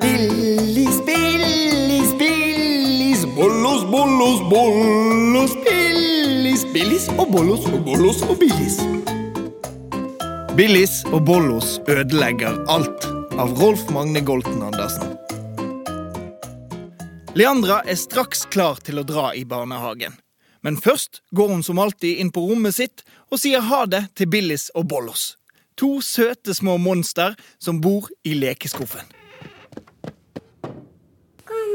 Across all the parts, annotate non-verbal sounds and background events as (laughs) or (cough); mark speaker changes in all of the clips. Speaker 1: Billis, Billis, Billis. Bollos, bollos, bollos. Billis, Billis og bollos og bollos og Billis. Billis og bollos ødelegger alt av Rolf Magne Golten Andersen. Leandra er straks klar til å dra i barnehagen. Men først går hun som alltid inn på rommet sitt og sier ha det til Billis og Bollos. To søte små monster som bor i lekeskuffen.
Speaker 2: God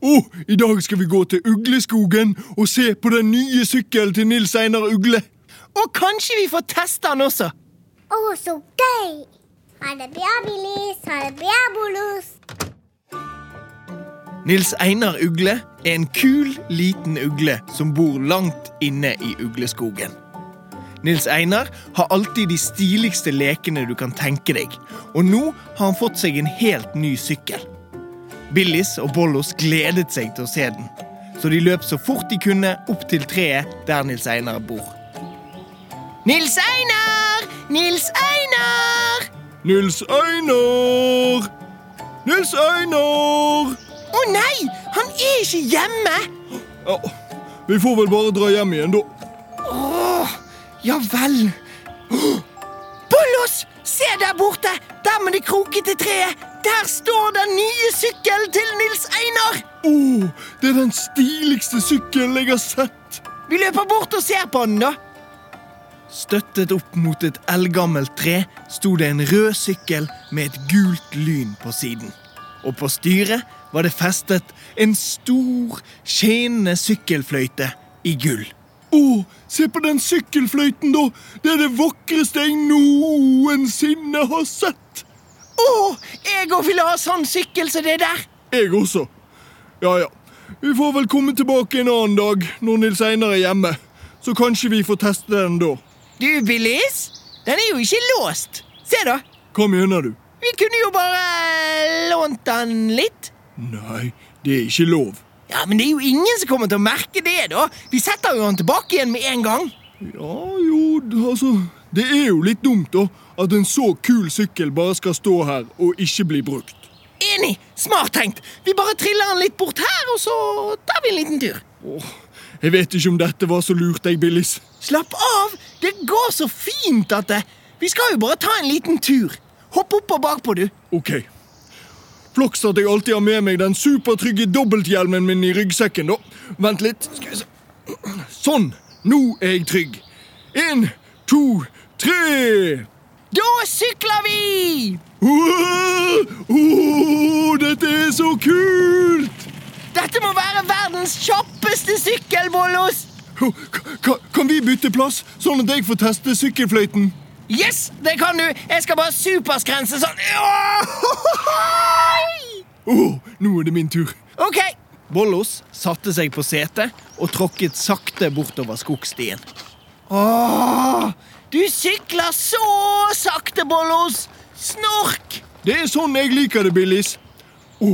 Speaker 1: Oh, I dag skal vi gå til Ugleskogen og se på den nye sykkelen til Nils Einar Ugle. Og kanskje vi får teste den også.
Speaker 2: Å, så gøy! Ha det bra, Billis. Ha det bra, Bollos.
Speaker 1: Nils Einar Ugle er en kul, liten ugle som bor langt inne i ugleskogen. Nils Einar har alltid de stiligste lekene du kan tenke deg, og nå har han fått seg en helt ny sykkel. Billis og Bollos gledet seg til å se den, så de løp så fort de kunne opp til treet der Nils Einar bor. Nils Einar! Nils Einar! Nils Einar! Nils Einar! Å nei, han er ikke hjemme! Ja, vi får vel bare dra hjem igjen, da. Åh, ja vel. Bollos, se der borte! Der med det krokete treet! Der står den nye sykkelen til Nils Einar! Å, det er den stiligste sykkelen jeg har sett. Vi løper bort og ser på den, da. Støttet opp mot et eldgammelt tre sto det en rød sykkel med et gult lyn på siden. Og på styret var det festet en stor, skinnende sykkelfløyte i gull. Å, se på den sykkelfløyten, da! Det er det vakreste jeg noensinne har sett! Å, jeg òg ville ha sånn sykkel som det der! Jeg også. Ja, ja. Vi får vel komme tilbake en annen dag når Nils Einar er hjemme. Så kanskje vi får teste den da. Du, Billis. Den er jo ikke låst. Se, da. Hva mener du? Vi kunne jo bare eh, lånt den litt. Nei, det er ikke lov. Ja, Men det er jo ingen som kommer til å merke det, da. Vi setter jo den tilbake igjen med en gang. Ja, jo, altså Det er jo litt dumt, da. At en så kul sykkel bare skal stå her og ikke bli brukt. Enig! Smart tenkt. Vi bare triller den litt bort her, og så tar vi en liten tur. jeg vet ikke om dette var så lurt, jeg, Billis. Slapp av! Det går så fint, dette. Vi skal jo bare ta en liten tur. Hopp opp og bakpå, du. Ok. Flaks at jeg alltid har med meg den supertrygge dobbelthjelmen min i ryggsekken, da. Vent litt. Skal vi se. Sånn! Nå er jeg trygg. Én, to, tre! Da sykler vi! dette er så kult! Dette må være verdens kjappeste sykkel, Bollos! Kan vi bytte plass, sånn at jeg får teste sykkelfløyten? Yes, det kan du! Jeg skal bare superskrense sånn. Å, nå er det min tur. Ok. Bollos satte seg på setet og tråkket sakte bortover skogstien. Åh, du sykler så sakte, Bollos! Snork! Det er sånn jeg liker det, Billis. Å,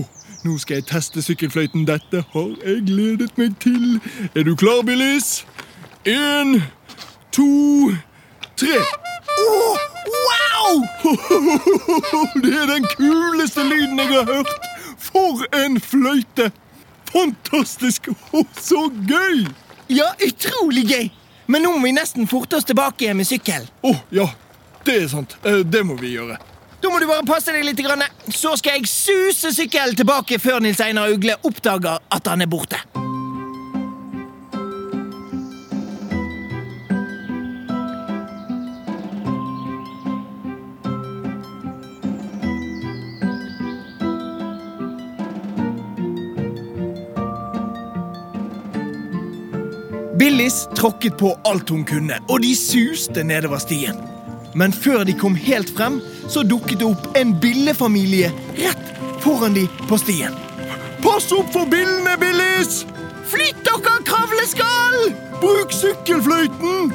Speaker 1: nå skal jeg teste sykkelfløyten. Dette har jeg gledet meg til. Er du klar, Billis? Én, to, tre. Åh, wow! (laughs) Det er den kuleste lyden jeg har hørt. For en fløyte! Fantastisk og så gøy! Ja, utrolig gøy. Men nå må vi nesten forte oss tilbake med sykkel. Å, ja. Det er sant. Eh, Det må vi gjøre. Da må du bare passe deg litt, grann. så skal jeg suse sykkelen tilbake før Nils Einar Ugle oppdager at han er borte. Billis tråkket på alt hun kunne, og de suste nedover stien. Men før de kom helt frem, så dukket det opp en billefamilie rett foran de på stien. Pass opp for billene, Billis! Flytt dere, kravleskall! Bruk sykkelfløyten!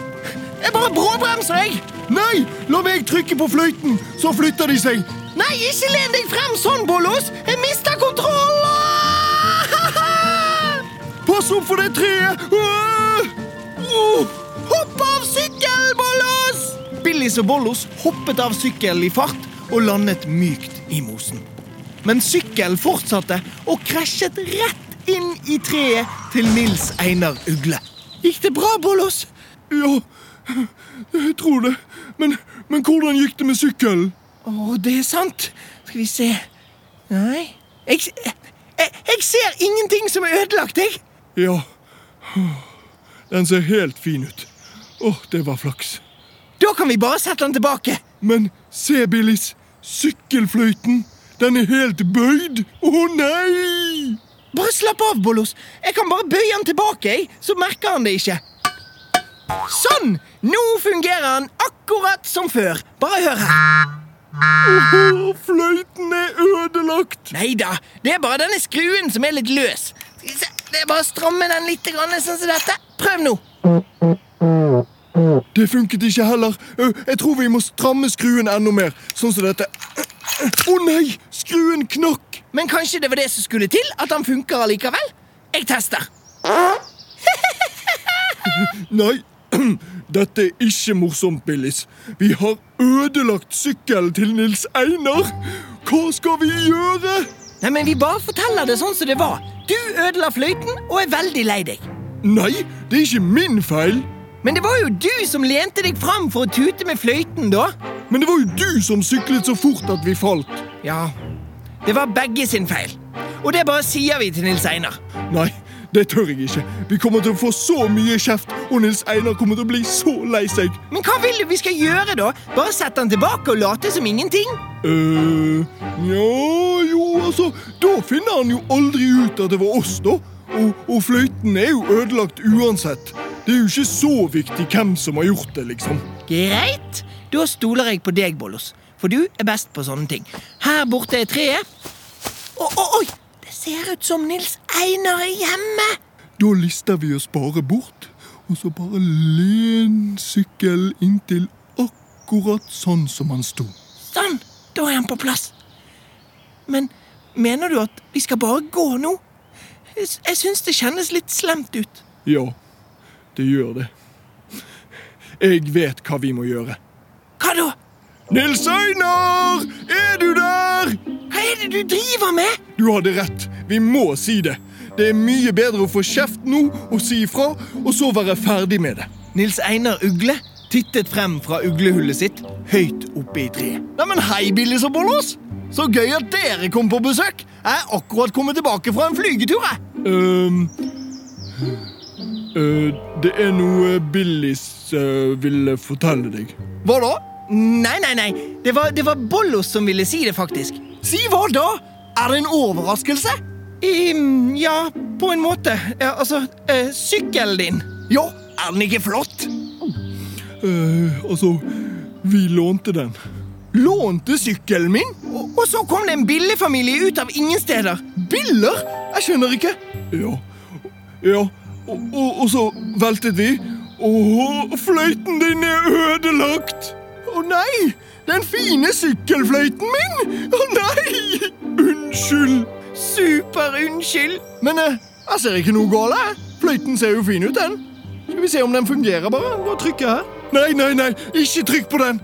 Speaker 1: Jeg bare bråbremser, jeg. Nei, la meg trykke på fløyten, så flytter de seg. Nei, ikke len deg frem sånn, Bollos! Jeg mister kontrollen! (laughs) Pass opp for det treet! Åh! Åh! Hopp av sykkel, Bollos! Billis og Bollos hoppet av sykkelen i fart og landet mykt i mosen. Men sykkelen fortsatte og krasjet rett inn i treet til Nils Einar Ugle. Gikk det bra, Bollos? Ja, jeg tror det. Men, hvordan gikk det med sykkelen? Å, det er sant. Skal vi se Nei Jeg, jeg, jeg ser ingenting som eh, er ødelagt, jeg. Ja, den ser helt fin ut. Åh, det var flaks. Da kan vi bare sette den tilbake. Men se, Billis. Sykkelfløyten. Den er helt bøyd. Å nei! Bare slapp av, Bollos. Jeg kan bare bøye den tilbake, jeg, så merker han det ikke. Sånn! Nå fungerer han nou akkurat som før. Bare hør her. fløyten er ødelagt. Nei da. Det er bare denne skruen som er litt løs. Skal vi se, Det er bare å stramme den litt grann, sånn som dette. Prøv nå. Det funket ikke heller. Ø, Jeg tror vi må stramme skruen enda mer. Sånn som dette. Å nei! Skruen knakk! Men kanskje det var det som skulle til? At han funker allikevel? Jeg tester. nei. (clears throat) Dette er ikke morsomt, Billis. Vi har ødelagt sykkelen til Nils Einar. Hva skal vi gjøre? Nei, men Vi bare forteller det sånn som det var. Du ødela fløyten og er veldig lei deg. Nei, det er ikke min feil. Men det var jo du som lente deg fram for å tute med fløyten, da. Men det var jo du som syklet så fort at vi falt. Ja, det var begge sin feil. Og det bare sier vi til Nils Einar. Nei, det tør jeg ikke. Vi kommer til å få så mye kjeft, og Nils Einar kommer til å bli så lei seg. Men hva vil du vi skal gjøre, da? Bare sette han tilbake og late som ingenting? eh, nja, jo, altså Da finner han jo aldri ut at det var oss, da. Og, og fløyten er jo ødelagt uansett. Det er jo ikke så viktig hvem som har gjort det, liksom.
Speaker 3: Greit. Da stoler jeg på deg, Bollos. For du er best på sånne ting. Her borte er treet. Å, å, oi! Det ser ut som Nils Einar er hjemme.
Speaker 1: Da lister vi oss bare bort, og så bare len sykkelen inntil akkurat sånn som han sto.
Speaker 3: Sånn. Da er han på plass. Men mener du at vi skal bare gå nå? Jeg, s- jeg syns det kjennes litt slemt ut.
Speaker 1: Ja, det gjør det. Jeg vet hva vi må gjøre.
Speaker 3: Hva da?
Speaker 1: Nils Einar! Er du der?
Speaker 3: Hva er det du driver med?
Speaker 1: Du hadde rett. Vi må si det. Det er mye bedre å få kjeft nå og si ifra, og så være ferdig med det.
Speaker 3: Nils Einar Ugle tittet frem fra uglehullet sitt, høyt oppe i treet.
Speaker 1: Neimen, hei, Billis og Bollos! Så gøy at dere kom på besøk. Jeg er akkurat kommet tilbake fra en flygetur, jeg. Eh, det er noe Billis eh, ville fortelle deg.
Speaker 3: Hva da? Nei, nei, nei. Det var, det var Bollos som ville si det, faktisk.
Speaker 1: Si hva da? Er det en overraskelse?
Speaker 3: Ehm, ja, på en måte. Ja, altså, eh, sykkelen din.
Speaker 1: Ja, er den ikke flott? altså, vi lånte den. Lånte sykkelen min?
Speaker 3: Og, og så kom det en billigfamilie ut av ingen steder.
Speaker 1: Biller? Jeg skjønner ikke. Ja, ja. Og, og, og så veltet vi. Åh, fløyten din er ødelagt! Å nei! Den fine sykkelfløyten min! Å nei! Unnskyld!
Speaker 3: Super unnskyld.
Speaker 1: Men eh, jeg ser ikke noe galt. jeg. Fløyten ser jo fin ut, den. Skal vi se om den fungerer, bare? Nå trykker jeg her. Nei, nei, nei! Ikke trykk på den!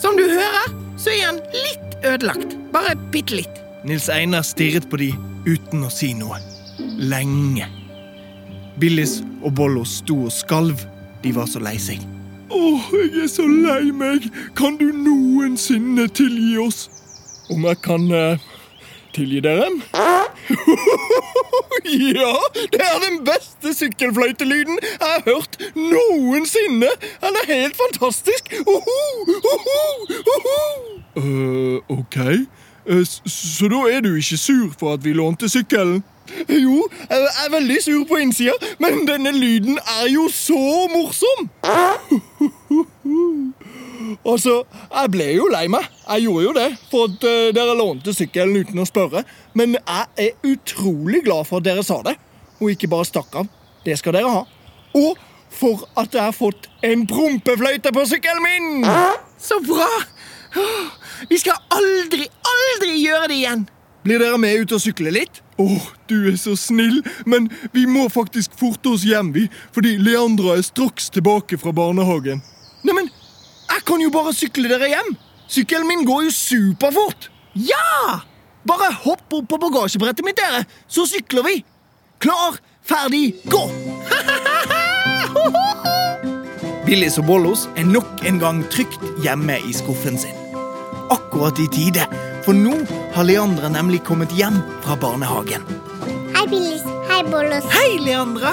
Speaker 3: Som du hører, så er han litt ødelagt. Bare bitte litt.
Speaker 1: Nils Einar stirret på de uten å si noe. Lenge. Billis og Bollos sto og skalv. De var så lei seg. Åh, jeg er så lei meg. Kan du noensinne tilgi oss? Om jeg kan eh, tilgi dere? (laughs) ja, det er den beste sykkelfløytelyden jeg har hørt noensinne. Den er helt fantastisk. Oho, oho, oho. ok. Eh, s- Så da er du ikke sur for at vi lånte sykkelen? Jo, jeg er veldig sur på innsida, men denne lyden er jo så morsom! Altså, jeg ble jo lei meg. Jeg gjorde jo det, for at eh, dere lånte sykkelen uten å spørre. Men jeg er utrolig glad for at dere sa det, og ikke bare stakk av. Det skal dere ha. Og for at jeg har fått en prompefløyte på sykkelen min!
Speaker 3: Så bra! Åh, Vi skal aldri, aldri gjøre det igjen.
Speaker 1: Blir dere med ut og sykle litt? Åh, du er så snill, men vi må faktisk forte oss hjem, vi, fordi Leandra er straks tilbake fra barnehagen. Neimen, jeg kan jo bare sykle dere hjem! Sykkelen min går jo superfort!
Speaker 3: Ja!
Speaker 1: Bare hopp opp på bagasjebrettet mitt, dere, så sykler vi! Klar, ferdig,
Speaker 3: (laughs)
Speaker 1: gå!
Speaker 3: Billis og Bollos er nok en gang trygt hjemme i skuffen sin. Akkurat i tide, for nå har Leandra nemlig kommet hjem fra barnehagen.
Speaker 2: Hei, Billis. Hei, Bollos.
Speaker 3: Hei, Leandra!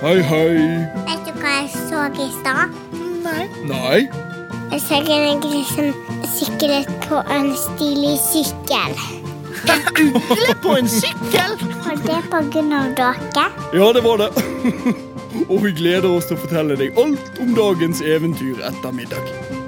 Speaker 1: Hei, hei.
Speaker 2: Vet du hva jeg så i stad?
Speaker 3: Nei.
Speaker 1: (laughs) Nei.
Speaker 2: Jeg så en gris som syklet på en stilig sykkel.
Speaker 3: En ugle på en sykkel!
Speaker 2: Og det er på grunn av dere.
Speaker 1: Ja, det var det. (laughs) og vi gleder oss til å fortelle deg alt om dagens eventyr etter middag.